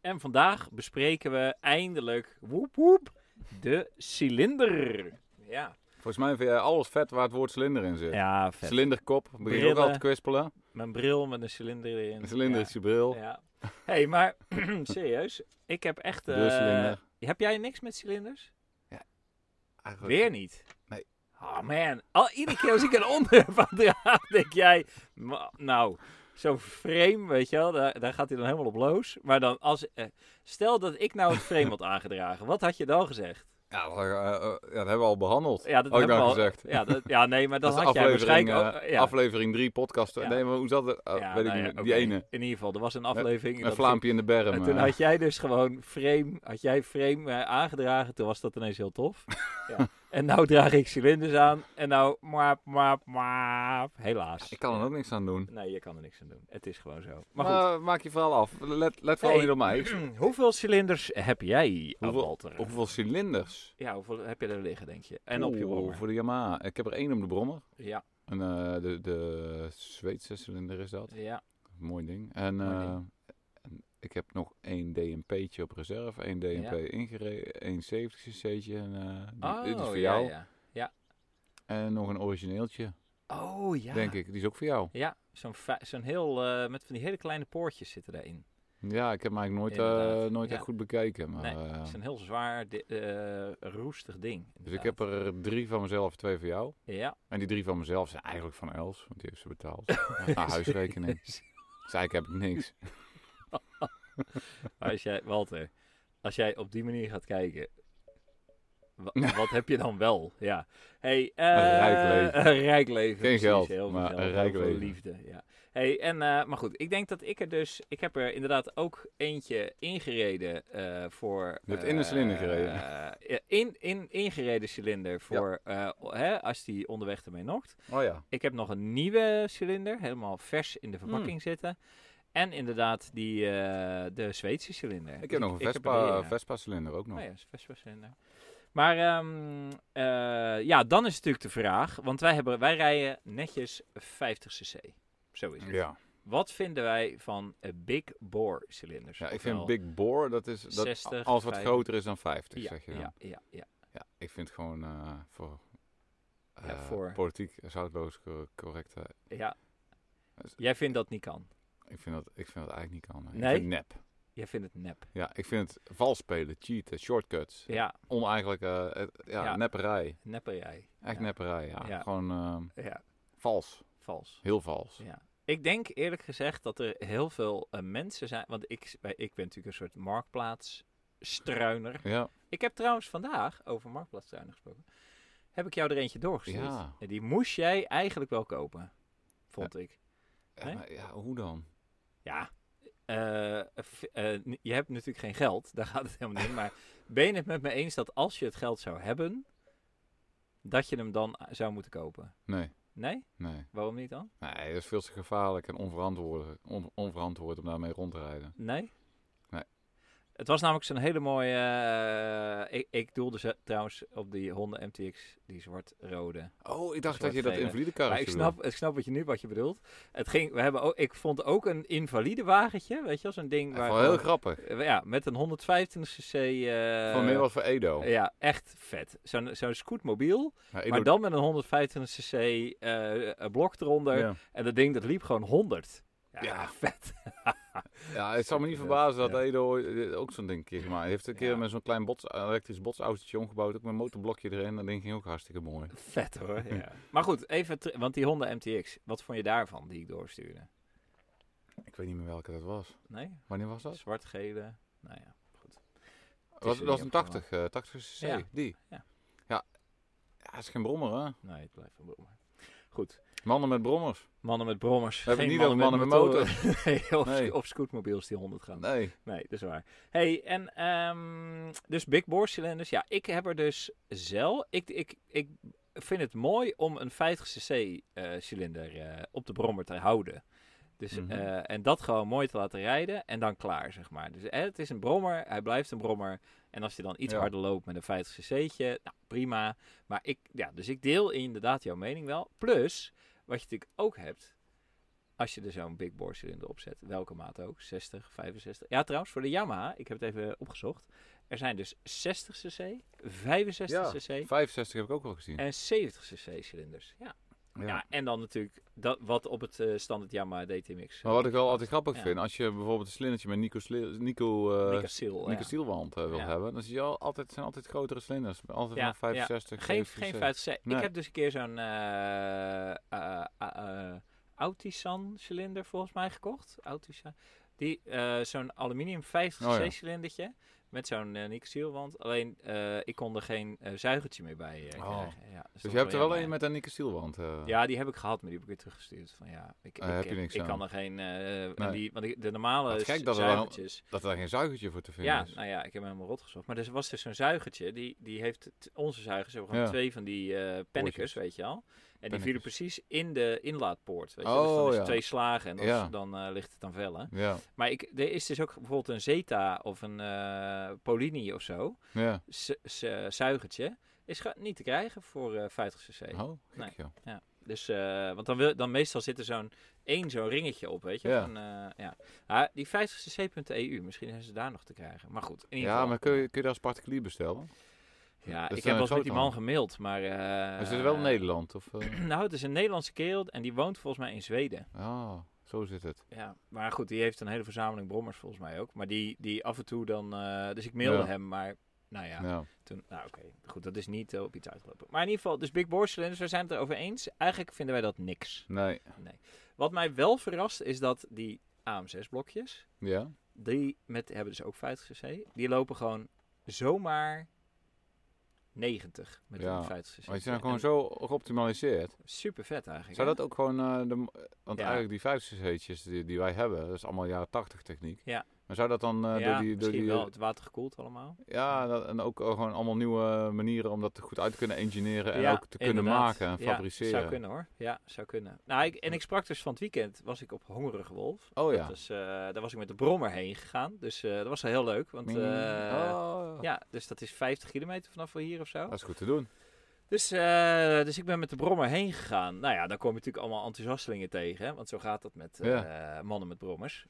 En vandaag bespreken we eindelijk, woep woep, de cilinder. Ja, Volgens mij vind jij alles vet waar het woord cilinder in zit. ja vet. Cilinderkop, begin je ook Brillen. al te kwispelen. Mijn bril met een cilinder erin. Een cilinder is je bril, Ja. ja. hey, maar serieus, ik heb echt... de eh, cilinder. heb jij niks met cilinders? Eigenlijk- Weer niet? Nee. Oh man, al iedere keer als ik een onderwerp aan draag, denk jij... "Ma- Nou, zo'n frame, weet je wel, daar, daar gaat hij dan helemaal op los. Maar dan als... eh, stel dat ik nou het frame had aangedragen, wat had je dan gezegd? Ja, dat, eh, eh, ja, dat hebben we al behandeld. Ja, dat Ook heb ik dan al gezegd. Ja, dat, ja, nee, maar dat, Dat is had jij aflevering, waarschijnlijk... ook- eh, ja. aflevering 3 podcast. Ja. Nee, maar hoe zat het? Eh, Ja, weet nou ik ja, niet. oké. Die ene. In ieder geval, er was een aflevering. en Een dat vlaampje in de berm. En toen eh. had jij dus gewoon frame, had jij frame eh, aangedragen, toen was dat ineens heel tof. ja. En nou draag ik cilinders aan en nou maap, maap, maap. Helaas. Ik kan er ook niks aan doen. Nee, je kan er niks aan doen. Het is gewoon zo. Maar Maar, goed, Eh, maak je verhaal af. Let, let vooral Hey. niet op mij. hoeveel cilinders heb jij, eh, Hoeveel- Walter? Hoeveel cilinders? Ja, hoeveel heb je er liggen, denk je? En op je Oeh, brommer. Voor de Yamaha. Ik heb er één op de brommer. Ja, En, eh, de, de Zweedse cilinder is dat. ja. Mooi ding. En, Mooi eh, en ik heb nog één DMP'tje op reserve. één DMP ingereden. één 70 cc'tje. En, eh, die, Oh, dit is voor ja, jou. ja. En nog een origineeltje, Oh, ja. denk ik. Die is ook voor jou. Ja, zo'n fa- zo'n heel, eh, met van die hele kleine poortjes zitten daarin. Ja, ik heb hem eigenlijk nooit, eh, Inderdaad, nooit ja. echt goed bekeken. Maar, Nee, eh, Het is een heel zwaar, di- eh, roestig ding. dus ik heb er drie van mezelf, twee voor jou. Ja. En die drie van mezelf zijn eigenlijk van Els, want die heeft ze betaald. Dat is haar huisrekening. Dus eigenlijk heb ik niks. Maar als jij, Walter, als jij op die manier gaat kijken, wa- wat heb je dan wel? Ja. Hey, eh, Een rijk leven. Een rijk leven. Geen geld, heel veel maar geld, een rijk heel veel leven. liefde, ja. Hey, en, eh, maar goed, ik denk dat ik er dus... Ik heb er inderdaad ook eentje ingereden eh, voor... Je hebt eh, in een cilinder gereden. eh, ja, in, in, ingereden cilinder voor eh, o- hè, als die onderweg ermee nokt. Oh ja. Ik heb nog een nieuwe cilinder, helemaal vers in de Hmm. verpakking zitten. En inderdaad die, eh, de Zweedse cilinder. Ik Dus heb nog een ik er Vespa, drie, ja. Vespa cilinder ook nog. Oh ja, is een Vespa cilinder. Maar ehm, eh, ja, dan is natuurlijk de vraag, want wij, hebben, wij rijden netjes 50 cc. Zo is het. Ja. Wat vinden wij van eh, Big Bore cilinders? ja, ik Ofwel- vind Big Bore, dat is dat, 60, alles wat 50. groter is dan 50, ja, zeg je dan. Ja. ja, ja, ja. ik vind gewoon eh, voor, eh Ja, voor- politiek zoutloos co- correct. eh, ja. Dat is- Jij vindt dat niet kan. ik, vind dat, ik vind dat eigenlijk niet kan. hè. Nee? Ik vind het nep. Jij vindt het nep. Ja, ik vind het vals spelen, cheaten, shortcuts. Ja, Oneigenlijk, eh, het- ja, Ja. nepperij. nepperij. Echt Ja. nepperij, ja. Ja. Gewoon ehm, Ja, vals. vals. Heel vals. Ja. Ik denk eerlijk gezegd dat er heel veel eh, mensen zijn. Want ik, wij- ik ben natuurlijk een soort marktplaatsstruiner. Ja, Ik heb trouwens vandaag over marktplaatsstruiner gesproken. Heb ik jou er eentje doorgestuurd? Ja. En Die moest jij eigenlijk wel kopen, vond ik. ja, Nee? maar ja hoe dan? Ja. eh, f- eh, n- je hebt natuurlijk geen geld, daar gaat het helemaal niet. om, Maar ben je het met me eens dat als je het geld zou hebben, dat je hem dan eh, zou moeten kopen? Nee, Nee? nee. Waarom niet dan? Nee, dat is veel te gevaarlijk en onverantwoord, on- onverantwoord om daarmee rond te rijden. Nee? Nee. Het was namelijk zo'n hele mooie... eh, ik, ik doelde ze trouwens op die Honda MTX, die zwart-rode. Oh, ik dacht Zwart dat je dat velen. invalide Maar karretje ik snap, ik snap wat je nu wat je bedoelt. Het ging, we hebben ook, ik vond ook een invalide wagentje, weet je wel, zo'n ding. Wel Waar heel grappig. gewoon- eh, ja, met een 125 cc. eh, Van meer wat voor Edo. Ja, echt vet. Zo'n zo'n scootmobiel, Ja, Edo- maar dan met een 125 cc eh, een blok eronder. ja. En dat ding dat liep gewoon 100. Ja, Ja. vet. Ja, het zou me Supervet, niet verbazen dat ja. Edo ooit- eh, ook zo'n ding een keer gemaakt heeft. Hij heeft een keer Ja. met zo'n klein bots, elektrisch botsautootje omgebouwd, ook met een motorblokje erin. Dat ding ging ook hartstikke mooi. Vet hoor. Ja. Maar goed, even, ter- want die Honda MTX, wat vond je daarvan die ik doorstuurde? Ik weet niet meer welke dat was. Nee? Wanneer was dat? Zwart-gele? Nou ja, goed. Dat was, er dat was niet een opgevallen. 80, eh 80 cc, Ja. die. Ja. Ja. Ja, dat is geen brommer, hè? Nee, het blijft een brommer. Goed. Mannen met brommers. Mannen met brommers. We hebben Geen het niet over mannen met nee, of, Nee. of scootmobiels die 100 gaan. Nee, Nee. dat is waar. hey, en ehm, dus Big Bore cilinders. Ja, ik heb er dus zelf... Ik, ik, ik vind het mooi om een 50cc eh, cilinder eh, op de brommer te houden. Dus, Mhm. eh, en dat gewoon mooi te laten rijden en dan klaar, zeg maar. Dus eh, het is een brommer, hij blijft een brommer. En als je dan iets Ja. harder loopt met een 50cc'tje, nou prima. Maar ik, ja, dus ik deel inderdaad jouw mening wel. Plus, wat je natuurlijk ook hebt, als je er zo'n big bore cilinder opzet, welke maat ook, 60, 65. Ja, trouwens, voor de Yamaha, ik heb het even opgezocht. Er zijn dus 60cc, 65cc 65 heb ik ook wel gezien. en 70cc cilinders. Ja. Eh, Ja. Ja. en dan natuurlijk dat, wat op het eh, standaard Yamaha DTMX. Maar wat ik wel altijd grappig Ja. vind, als je bijvoorbeeld een slindertje met Nico, Sli- Nico, eh, Nico Nico Stielwand eh, wil nou Ja. hebben, dan zie je al altijd, zijn altijd grotere slinders. Altijd Ja, maar 65, Geen, 70 geen cc. 50 cc. Ik Nee. heb dus een keer zo'n eh eh, eh, eh, Autisan cilinder volgens mij gekocht. Autisan. Die, eh, zo'n aluminium 50 Oh cc ja. cilindertje. Met zo'n uh, Nicotielwand. Alleen eh, ik kon er geen eh, zuigertje meer bij eh, Oh. krijgen. Ja, dat is Dus toch je hebt er wel jammer, een hè? met een Nico Stielwand. eh. Ja, die heb ik gehad, maar die heb ik weer teruggestuurd. Van, ja, ik, Ah, ik, heb je niks ik aan. kan er geen... eh, en Nee. die, want ik- de normale Wat z- gek dat er dan- zuigertjes... Dat er daar geen zuigertje voor te vinden Ja, is. nou ja, ik heb hem helemaal rot gezocht. Maar er was dus zo'n zuigertje, die, die heeft, t- onze zuigers hebben gewoon Ja. twee van die eh pennekes, weet je al. En die vielen Pennekes. precies in de inlaatpoort, weet je wel. Dus dan is Oh, het ja. twee slagen en dan, is- Ja. dan eh, ligt het aan vellen. Ja, Maar ik, er is dus ook bijvoorbeeld een Zeta of een eh, Polini of zo, ja. z- z- zuigertje, is gewoon niet te krijgen voor eh, 50 cc. Oh, gek Nee. joh. Dus, eh, want dan, wil, dan meestal zit er zo'n één zo'n ringetje op, weet je. Ja. Van, eh, ja. Ah, die 50cc.eu, E misschien zijn ze daar nog te krijgen. Maar goed, in ieder Ja, geval. maar kun je, kun je dat als particulier bestellen? Ja, Dat ik heb is een wel eens met die man groothandel. gemaild, maar... eh, Maar is het wel in Nederland? Of, eh? Nou, het is een Nederlandse kerel en die woont volgens mij in Zweden. Ah, zo zit het. Ja, maar goed, die heeft een hele verzameling brommers volgens mij ook. Maar die, die af en toe dan... eh, dus ik mailde Ja. hem, maar nou ja, Ja. toen... Nou oké, goed, dat is niet eh, op iets uitgelopen. Maar in ieder geval, dus Big Board Cylinders, we zijn het erover eens. Eigenlijk vinden wij dat niks. Nee. Wat mij wel verrast is dat die AM6-blokjes, Ja? die met, hebben dus ook 50cc, die lopen gewoon zomaar 90 met Ja, een 50cc. Maar die zijn gewoon zo geoptimaliseerd. Super vet eigenlijk. Zou hè? dat ook gewoon... eh, de, want Ja. eigenlijk die 50 cc's die, die wij hebben, dat is allemaal jaren 80 techniek. Ja. Maar zou dat dan eh, ja, door die... Door misschien die wel. Het water gekoeld allemaal. Ja, dat- en ook eh, gewoon allemaal nieuwe manieren om dat goed uit te kunnen engineeren en ja, ook te kunnen inderdaad. maken en Ja, fabriceren. zou kunnen hoor. Ja, zou kunnen. Nou, ik, en ik sprak dus van het weekend, was ik op Hongerige Wolf. Oh ja. Dat is, eh, daar was ik met de brommer heen gegaan. Dus eh, dat was heel leuk. Want Mm. eh, Ah. ja, dus dat is 50 kilometer vanaf hier of zo. Dat is goed te doen. Dus, eh, dus ik ben met de brommer heen gegaan. Nou ja, dan kom je natuurlijk allemaal enthousiastelingen tegen. hè, Want zo gaat dat met eh, mannen met brommers.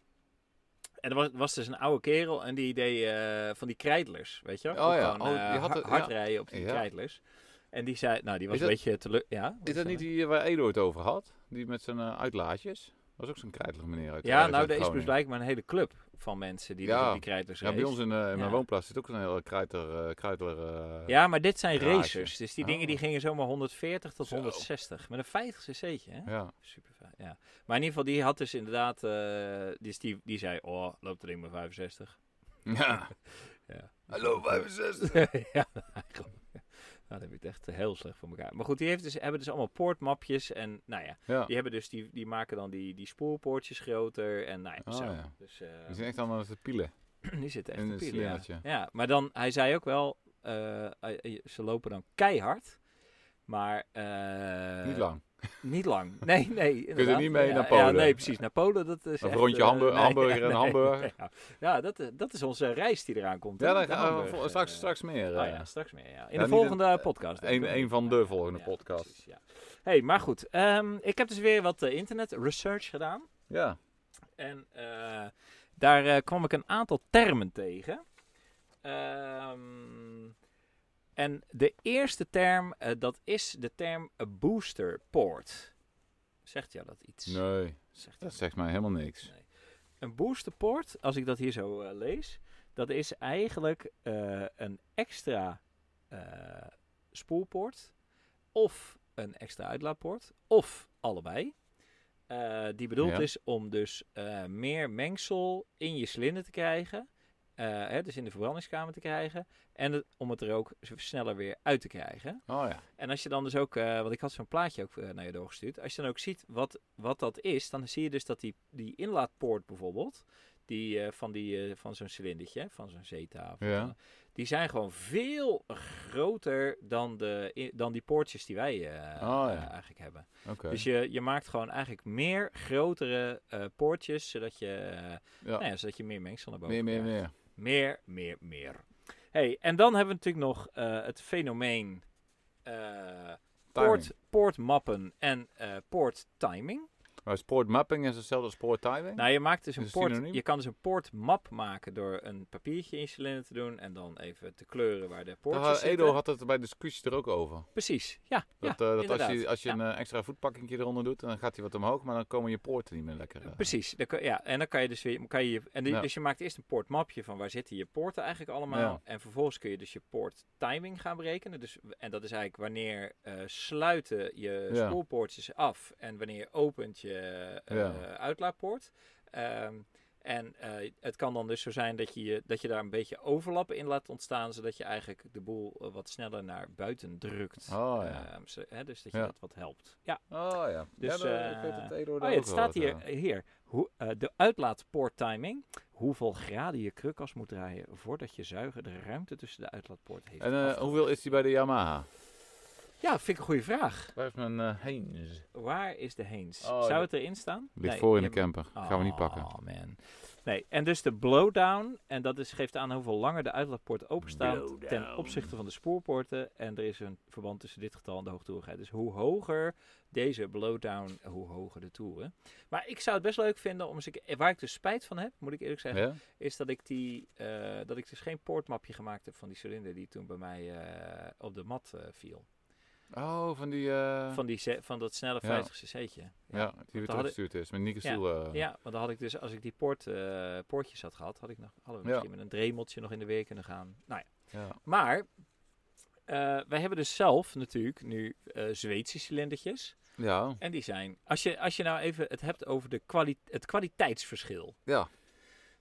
En er was, was dus een oude kerel en die deed eh, van die krijtlers, weet je? wel? Oh Ook ja, Gewoon, oh, eh, die had ha- het, hard ja. rijden op die Ja. krijtlers. En die zei, nou die was Is een dat- beetje teleur... Ja, wat Is dat er niet nou? die eh, waar Edo het over had? Die met zijn eh, uitlaatjes? was ook zo'n krijtelig meneer uit Ja, ergens nou uit er is dus Groningen. blijkbaar een hele club van mensen die dus Ja. op die krijtlers Ja, bij race. ons in, eh, in mijn Ja. woonplaats zit ook een hele kruiter... eh kruitler, eh, Ja, maar dit zijn Garage. racers. Dus die dingen Oh. die gingen zomaar 140 tot Zo. 160. Met een 50 cc'tje, hè? ja. Super ja. Maar in ieder geval, die had dus inderdaad... eh, dus die, die zei, oh, loopt er ding maar 65. Ja. Ja. Hallo 65. ja, eigenlijk. Nou, dat heb ik het echt heel slecht voor elkaar. Maar goed, die heeft dus, hebben dus allemaal poortmapjes. En nou ja, Ja. die, hebben dus, die, die maken dan die, die spoorpoortjes groter. En nou ja, Oh, zo. ja. Dus, eh, Die zijn echt allemaal te pielen. die zit echt in te het pielen, ja. slingertje. ja, maar dan, hij zei ook wel, eh, eh, ze lopen dan keihard. Maar eh, Niet lang. Niet lang. Nee, nee. Kun je inderdaad. niet mee Ja, naar Ja, Polen? nee, precies. Naar Polen, dat is Of echt, rondje eh, Hamburg- nee, hamburger ja, en nee, Hamburg. Ja, ja dat, eh, dat is onze reis die eraan komt. Ja, hè, dan de gaan we Hamburg, vol- eh, straks, straks meer. Oh eh. ja, straks meer. Ja. In Ja, de niet volgende een- podcast. een- een van de volgende podcasts. precies, ja. hey, maar goed. ehm, ik heb dus weer wat eh, internet research gedaan. ja. En eh, daar eh, kwam ik een aantal termen tegen. Ehm, en de eerste term, eh, dat is de term eh, booster port. Zegt jou dat iets? Nee, Zegt jou dat zegt mij helemaal niks. een boosterport, als ik dat hier zo eh, lees, dat is eigenlijk eh, een extra eh, spoelpoort of een extra uitlaatpoort of allebei. eh, die bedoeld Ja. is om dus eh, meer mengsel in je slinder te krijgen, eh, hè, dus in de verbrandingskamer te krijgen en het- om het er ook z- sneller weer uit te krijgen. Oh ja. En als je dan dus ook, eh, want ik had zo'n plaatje ook eh, naar je doorgestuurd. Als je dan ook ziet wat, wat dat is, dan zie je dus dat die, die inlaatpoort bijvoorbeeld, die, eh, van, die, eh, van zo'n cilindertje, van zo'n zeta, of wat Ja. dan, die zijn gewoon veel groter dan, de, i- dan die poortjes die wij eh, Oh, eh, ja. eigenlijk hebben. Oké. Dus je, je maakt gewoon eigenlijk meer grotere eh, poortjes, zodat je, eh, ja. nou ja, zodat je meer mengsel naar boven meer, meer, krijgt. Meer, meer. meer, meer. Hey, en dan hebben we natuurlijk nog eh, het fenomeen eh, Timing. poort, poortmappen en eh poorttiming. Maar sportmapping is hetzelfde als sporttiming? Nou, je, maakt dus Is een het poort, synoniem? je kan dus een poortmap maken door een papiertje in je cilinder te doen en dan even te kleuren waar de Daar poortjes had- zitten. Edo had het bij de discussie er ook over. Precies, ja. Dat, ja, eh, dat als inderdaad. je, als je Ja. een eh, extra voetpakkingje eronder doet, dan gaat hij wat omhoog, maar dan komen je poorten niet meer lekker. eh. Precies, dan kan- ja, en dan kan je dus weer, kan je, je- en die- Ja. dus je maakt eerst een poortmapje van waar zitten je poorten eigenlijk allemaal. Ja. En vervolgens kun je dus je poorttiming gaan berekenen. Dus, en dat is eigenlijk wanneer eh, sluiten je Ja. spoelpoortjes af en wanneer opent je eh, Ja. uitlaatpoort. Ehm, en eh, het kan dan dus zo zijn dat je, je- dat je daar een beetje overlap in laat ontstaan, zodat je eigenlijk de boel eh, wat sneller naar buiten drukt. Oh ja. Ehm, zo- hè, dus dat je Ja. dat wat helpt. Ja. Oh ja. Dus, ja, dan- ik eh, weet dat Edo Oh daar ja, ook het wel staat wat, hier, eh. hier hoe, eh, de uitlaatpoort timing. Hoeveel graden je krukas moet draaien voordat je zuiger de ruimte tussen de uitlaatpoort heeft. En eh, afgelegd. hoeveel is die bij de Yamaha? Ja, vind ik een goede vraag. Waar is mijn eh Heinz? Waar is de Heens? Oh, Zou dat- het erin staan? Ligt Nee, voor in je de camper. Gaan we niet pakken. Oh man. Nee, en dus de blowdown. En dat is, geeft aan hoeveel langer de uitlaatpoort openstaat ten Blowdown. opzichte van de spoorpoorten. En er is een verband tussen dit getal en de hoogtoerigheid. Dus hoe hoger deze blowdown, hoe hoger de toeren. Maar ik zou het best leuk vinden om eens... een keer- Waar ik dus spijt van heb, moet ik eerlijk zeggen, Ja? is dat ik, die, eh, dat ik dus geen poortmapje gemaakt heb van die cilinder die toen bij mij eh, op de mat eh, viel. Oh, van die... eh, Van, die, se- van dat snelle Ja. 50 cc'tje. ja, die weer hadden- teruggestuurd is. Met Nieke Ja, Stoel. eh. Ja, want dan had ik dus, als ik die poort, eh, poortjes had gehad, had ik nog, hadden we Ja. misschien met een dremeltje nog in de weer kunnen gaan. Nou ja. ja. Maar eh, wij hebben dus zelf natuurlijk nu eh, Zweedse cilindertjes. Ja. En die zijn, als je, als je nou even het hebt over de kwali het kwaliteitsverschil. Ja.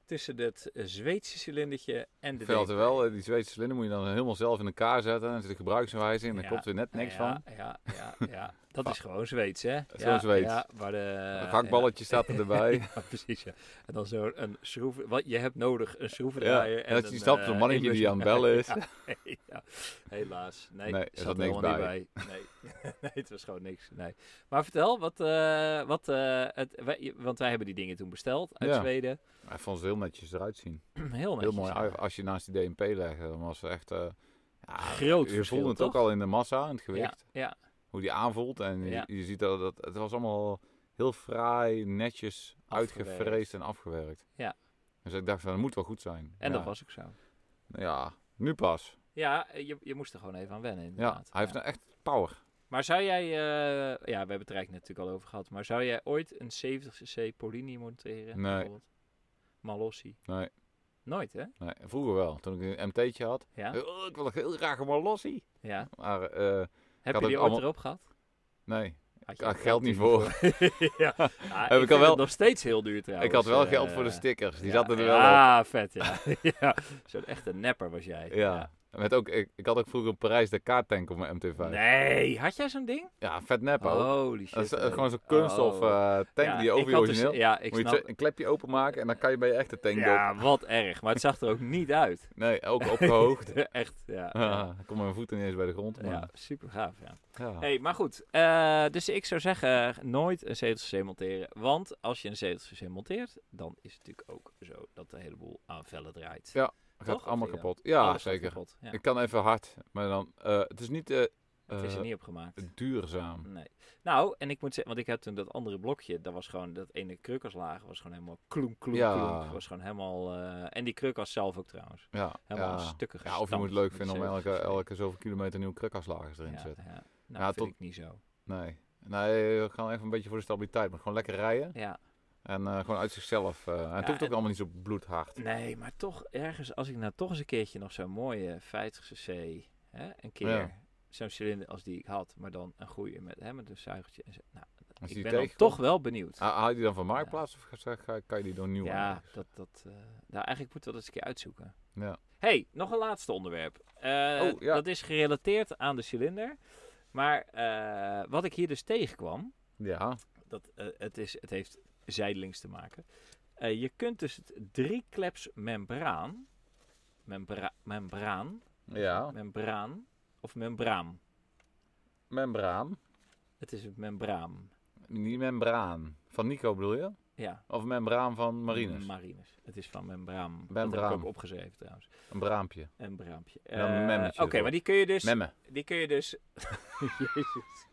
Tussen het eh, Zweedse cilindertje en de Veld er DPI. wel, eh, die Zweedse cilinder moet je dan helemaal zelf in elkaar zetten. En er zit een gebruiksaanwijzing en daar Ja, klopt weer net Nou niks ja, van. Ah. Ja, ja, ja. dat is gewoon Zweeds, hè? is ja, gewoon Zweeds. Ja, waar de, Een hakballetje staat er erbij. Ja, precies. Ja. En dan zo'n een schroeven. Wat je hebt nodig, een Ja, schroevendraaier. en dat je een, snapt, zo'n eh, mannetje die aan het bellen is. Ja, nee, ja. Helaas. Nee, Nee, er er zat zat er niks helemaal niet bij. Nee. nee, het was gewoon niks. Nee. Maar vertel, wat, eh, wat, eh, het, wij- want wij hebben die dingen toen besteld uit Ja. Zweden. Hij vond ze heel netjes eruit zien. Heel netjes. Heel mooi. ja. uit. Als je naast die DMP legt, dan was ze echt... eh, ja, Groot Je verschil, voelde het ook toch? al in de massa, in het Ja, gewicht. ja, Hoe die aanvoelt. En je- Ja. je, ziet dat, dat het was allemaal heel fraai, netjes Afgewerkt. uitgevreesd en afgewerkt. Ja. Dus ik dacht, van, dat moet wel goed zijn. en ja. dat was ook zo. Ja, nu pas. Ja, je, je moest er gewoon even aan wennen. Ja, Inderdaad. hij heeft nou echt power. Maar zou jij, eh, ja, we hebben het er eigenlijk natuurlijk al over gehad, maar zou jij ooit een 70cc Polini monteren? Nee. bijvoorbeeld? Malossi? Nee. Nooit, hè? Nee, vroeger wel, toen ik een MT'tje had. Ja. Oh, ik wil heel graag een Malossi. ja. Maar eh, Heb je had ook die ooit allemaal- erop gehad? nee, Had ik had geld niet voor. ja. Ah, ik al vind het wel- nog steeds heel duur trouwens. ik had wel eh, geld voor de stickers, die ja, zaten er wel op. Ah, Ja, vet, ja. ja. Zo'n echte nepper was jij. Ja. Met ook, ik, ik had ook vroeger in Parijs de kaarttank op mijn MT5. Nee, had jij zo'n ding? Ja, vet nep ook. Holy shit. Dat is eh, hey. gewoon zo'n kunststof Oh. eh, tank Ja, die je ik over je had dus- origineel... ja, ik moet je snap. het- een klepje openmaken en dan kan je bij je echte tank op. Ja, wat erg. Maar het zag er ook niet uit. Nee, ook opgehoogd. Echt, ja. Ja, Ah, ik kom met mijn voeten niet eens bij de grond. Maar, ja. super gaaf, ja. Ah. Hey, maar goed, eh, dus ik zou zeggen, nooit een zetelcc monteren. Want als je een zetelcc monteert, dan is het natuurlijk ook zo dat de hele boel aan vellen draait. Ja, gaat toch? allemaal Of die, kapot. Ja, Alles gaat zeker. kapot, ja. Ik kan even hard, maar dan... eh, het is niet... eh, het is er eh, niet op gemaakt. duurzaam. Nee. Nou, en ik moet zeggen, want ik heb toen dat andere blokje, dat was gewoon, dat ene krukkerslaag was gewoon helemaal kloem, kloem, Ja. kloem. Was gewoon helemaal, eh, en die kruk was zelf ook trouwens. Ja, Helemaal ja. aan stukken Ja, of je moet gestampt het leuk met vinden om elke, zetelcc. elke zoveel kilometer nieuwe krukhaslagers erin te Ja, zetten. ja. Nou, Ja, vind tot- ik niet zo. Nee. Nee, we gaan even een beetje voor de stabiliteit. Maar gewoon lekker rijden. Ja. En eh, gewoon uit zichzelf. eh, en het Ja, hoeft ook en- allemaal niet zo bloedhard. Nee, maar toch ergens, als ik nou toch eens een keertje nog zo'n mooie 50cc, hè, een keer Ja. zo'n cilinder als die ik had, maar dan een goede met, hè, met een zuigertje. En zo. Nou, Als je ik die Ah, ben dan tegenkomt- toch wel benieuwd. Ha- Haal je die dan van Marktplaats of ga, ga- kan je die door nieuw ja, aanleggen? dat, dat, eh, nou eigenlijk moeten we dat eens een keer uitzoeken. Ja. hey, nog een laatste onderwerp. Eh, Oh, ja. Dat is gerelateerd aan de cilinder. Maar eh, wat ik hier dus tegenkwam, Ja. dat, eh, het, is, het heeft zijdelings te maken. Eh, je kunt dus het driekleps membraan, membra- membraan, Ja. membraan of membraam. Membraan. Het is een membraam. Niet membraan. Van Nico bedoel je? Ja. Of membraan van Marinus? Marines. Het is van membraam. Dat heb Membraam. ik ook opgeschreven trouwens. een braampje. Een braampje. En dan een Eh, memmetje Oké, erop. maar die kun je dus... Memmen. Die kun je dus... Jezus.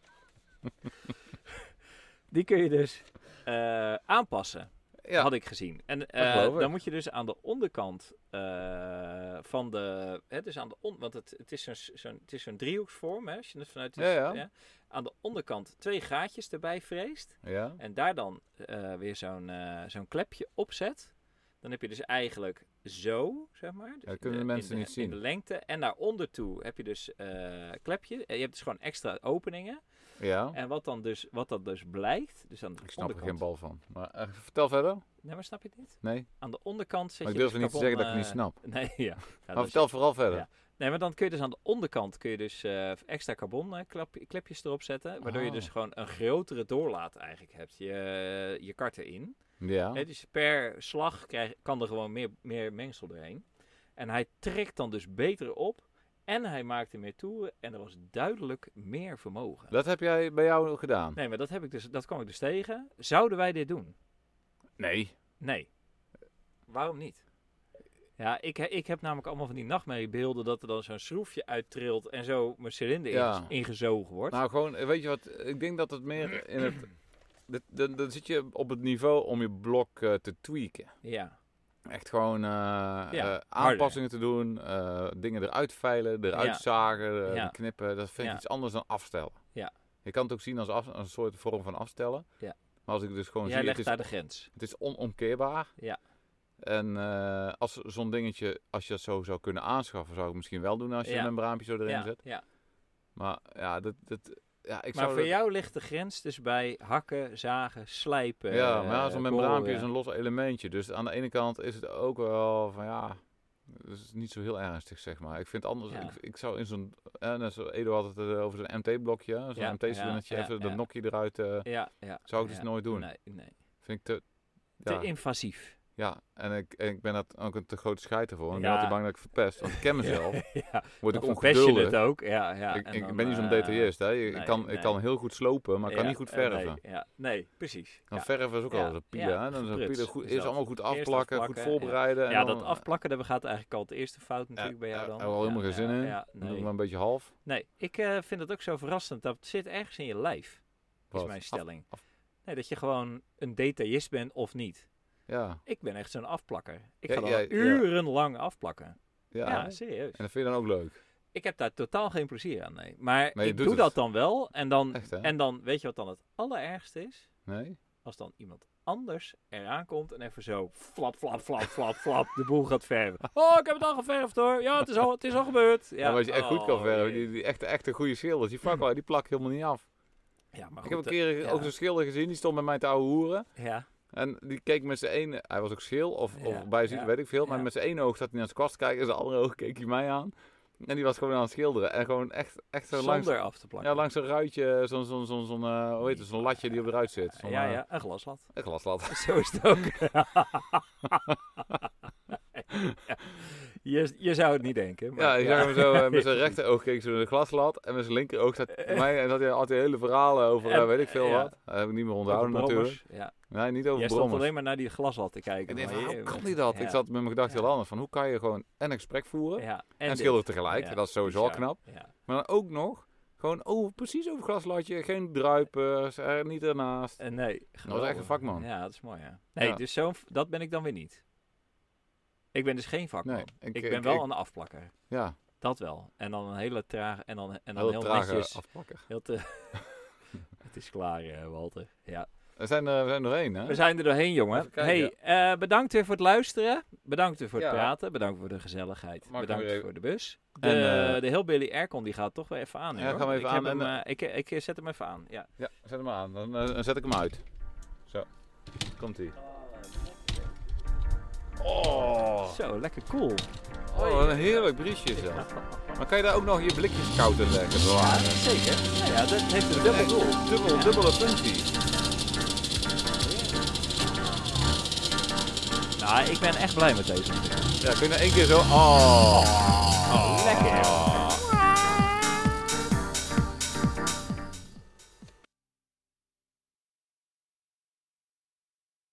die kun je dus eh, aanpassen. Ja. had ik gezien. En eh, geloof ik. dan moet je dus aan de onderkant eh, van de. Hè, dus aan de on, want het, het is zo'n zo'n- het is zo'n driehoeksvorm. Hè, als je het vanuit de- Ja, ja. aan de onderkant twee gaatjes erbij vreest. ja. En daar dan eh, weer zo'n eh, zo'n klepje op zet. Dan heb je dus eigenlijk zo, zeg maar. Dus dat in kunnen de mensen in niet zien. In de lengte. En naar onder toe heb je dus eh klepje. En je hebt dus gewoon extra openingen. ja. En wat, dan dus, wat dat dus blijkt. Dus aan de Oh. Ik snap er geen onderkant. bal van. Maar eh, vertel verder. Nee, maar snap je het niet? Nee. Aan de onderkant zet Maar ik je durf dus niet te carbon, zeggen dat ik eh, het niet snap. Nee, ja. Nou, maar dat is- vertel vooral verder. Ja. nee, maar dan kun je dus aan de onderkant kun je dus eh, extra carbon eh, klap- klepjes erop zetten. Waardoor je Oh. dus gewoon een grotere doorlaat eigenlijk hebt. Je, je kart erin. Ja. Hè, dus per slag krijg, kan er gewoon meer, meer mengsel doorheen. En hij trekt dan dus beter op. En hij maakte meer toeren. En er was duidelijk meer vermogen. Dat heb jij bij jou gedaan? Nee, maar dat, heb ik dus, dat kwam ik dus tegen. Zouden wij dit doen? Nee. Nee. Waarom niet? Ja, ik, he- ik heb namelijk allemaal van die nachtmerriebeelden dat er dan zo'n schroefje uittrilt en zo mijn cilinder Ja. inges- ingezogen wordt. Nou, gewoon, eh, weet je wat? Ik denk dat het meer in het... dat- Dan, dan zit je op het niveau om je blok eh, te tweaken. ja. Echt gewoon eh, eh, harder. aanpassingen te doen, eh, dingen eruit veilen, eruit Ja. zagen, eh, Ja. knippen. Dat vind ik Ja. iets anders dan afstellen. Ja. Je kan het ook zien als, af- als een soort vorm van afstellen. Ja. Maar als ik dus gewoon Jij zie, het legt is, daar de grens. het is onomkeerbaar. Ja. En eh, als zo'n dingetje, als je dat zo zou kunnen aanschaffen, zou ik het misschien wel doen als je Ja. een braampje zo erin Ja, zet. ja. Maar ja, dat, dat, ja ik Maar zou voor dat- jou ligt de grens dus bij hakken, zagen, slijpen. Ja, eh, maar ja, zo'n boren. membraampje is een los elementje. Dus aan de ene kant is het ook wel van ja, het is niet zo heel ernstig, zeg maar. Ik vind anders, Ja. ik, ik zou in zo'n, eh, net zoals Edo had het eh, over zo'n MT-blokje, zo'n Ja, MT-cilindertje, ja, even ja, dat ja. nokje eruit, eh, Ja, ja. zou ik ja. dus nooit doen. Nee, nee. Vind ik te, Te ja, invasief. ja. en ik, en ik ben dat ook een te grote scheid ervoor. En ik ben Ja. altijd bang dat ik verpest, want ik ken mezelf, ja, word ik dan verpest je het ongeduldig. ook. Ja, ja. Ik, en ik dan, ben niet zo'n eh, detailist, hè. Ik, nee, kan, nee. ik kan heel goed slopen, maar ik kan ja, niet goed eh, nee, verven. ja, nee, precies. Dan Ja. verven is ook Ja, al een pila. ja, hè? Dan is een gepruts pila goed, is eerst dat. allemaal goed Eerst afplakken, afplakken, goed voorbereiden. en ja, dan- eh, dat afplakken, daar gaat eigenlijk al het eerste fout natuurlijk bij jou Ja, dan. Daar hebben we helemaal Ja, geen zin ja, in. ja, Dan doen we nee. maar een beetje half. nee, ik eh, vind het ook zo verrassend. Dat zit ergens in je lijf, Wat? is mijn stelling. af- Nee, dat je gewoon een detailist bent of niet. Af- ja. Ik ben echt zo'n afplakker. Ik Ja, ga dan ja, ja. urenlang afplakken. Ja. Ja, serieus. En dat vind je dan ook leuk. Ik heb daar totaal geen plezier aan, nee. Maar Maar je ik doet doe dat het. dan wel. En dan, Echt, hè? en dan, weet je wat dan het allerergste is? Nee? Als dan iemand anders eraan komt en even zo flap, flap, flap, flap, flap de boel gaat verven. Oh, ik heb het al geverfd hoor. Ja, het is al, het is al gebeurd. Ja, Ja, wat je echt goed kan oh, verven. jee. Die, die echte, echte goede schilders, die fakkel, die plak helemaal niet af. Ja, maar ik Oh, goed, heb een eh, keer ja. ook zo'n schilder gezien, die stond met mij te ouwe hoeren. Ja, En die keek met zijn ene... Hij was ook schil, of, Ja, of bijziet, ja, weet ik veel. Maar ja. met zijn ene oog zat hij naar zijn kwast te kijken. En zijn andere oog keek hij mij aan. En die was gewoon aan het schilderen. En gewoon echt, echt zo langs, Zonder af te plakken. ja, langs een ruitje, zo'n zo'n zo'n zo'n eh, hoe heet het, zo'n latje die op de ruit zit. Zo'n, ja, eh, ja, een glaslat. Een glaslat. Zo is het ook. Ja. je, je zou het niet denken. Maar, Ja, ik zag hem zo, eh, met zijn rechter oog keek ze naar de glaslat. En met zijn linker oog zat bij mij, en dat hij altijd hele verhalen over, eh, En- weet ik veel ja. wat. Dat heb ik niet meer Over onthouden natuurlijk. brommers, Ja. Nee, niet over Jij stond brommers. alleen maar naar die glaslat te kijken. Ik denk, maar van, hoe je- kan die dat? Ja. Ik zat met mijn gedachten Ja. heel anders. Van, hoe kan je gewoon en een gesprek voeren ja, en, dit. schilderen tegelijk? Ja, Dat is sowieso al bizar. knap. Ja. Maar dan ook nog, gewoon over, precies over glaslatje. Geen druipers, er niet ernaast. Eh, nee, Dat was echt een vakman. Ja, dat is mooi, ja. Nee, Ja. dus zo'n, dat ben ik dan weer niet. Ik ben dus geen vakman. Nee, eh, ik, ben wel een afplakker. ja, Dat wel. En dan een hele traag, en dan, en dan heel heel, trage netjes. afpakker. Heel te... Het is klaar, eh, Walter. Ja. Er zijn eh, er, we zijn er één, hè? We zijn er doorheen, jongen. Even kijken. Hey, eh, bedankt weer voor het luisteren. Bedankt weer voor het Ja. praten. Bedankt voor de gezelligheid. Mag ik hem bedankt weer even- voor de bus. De, En, eh, de heel Billy Aircon die gaat toch weer even aan. Ja, hè, hoor. gaan we even ik heb aan Hem, en, eh, ik, ik zet hem even aan. Ja. Ja, zet hem maar aan. Dan eh, dan zet ik hem uit. Zo, komt ie. Oh, Zo, lekker cool. oh, wat een heerlijk briesje is dat. Maar kan je daar ook nog je blikjes koud in leggen? Ja, bewaren? zeker. Nou ja, dat heeft een dubbel doel. Echt, Dubbel, Ja. dubbele functie. Nou, ik ben echt blij met deze. Ja, kun je nou één keer zo... Oh. Lekker.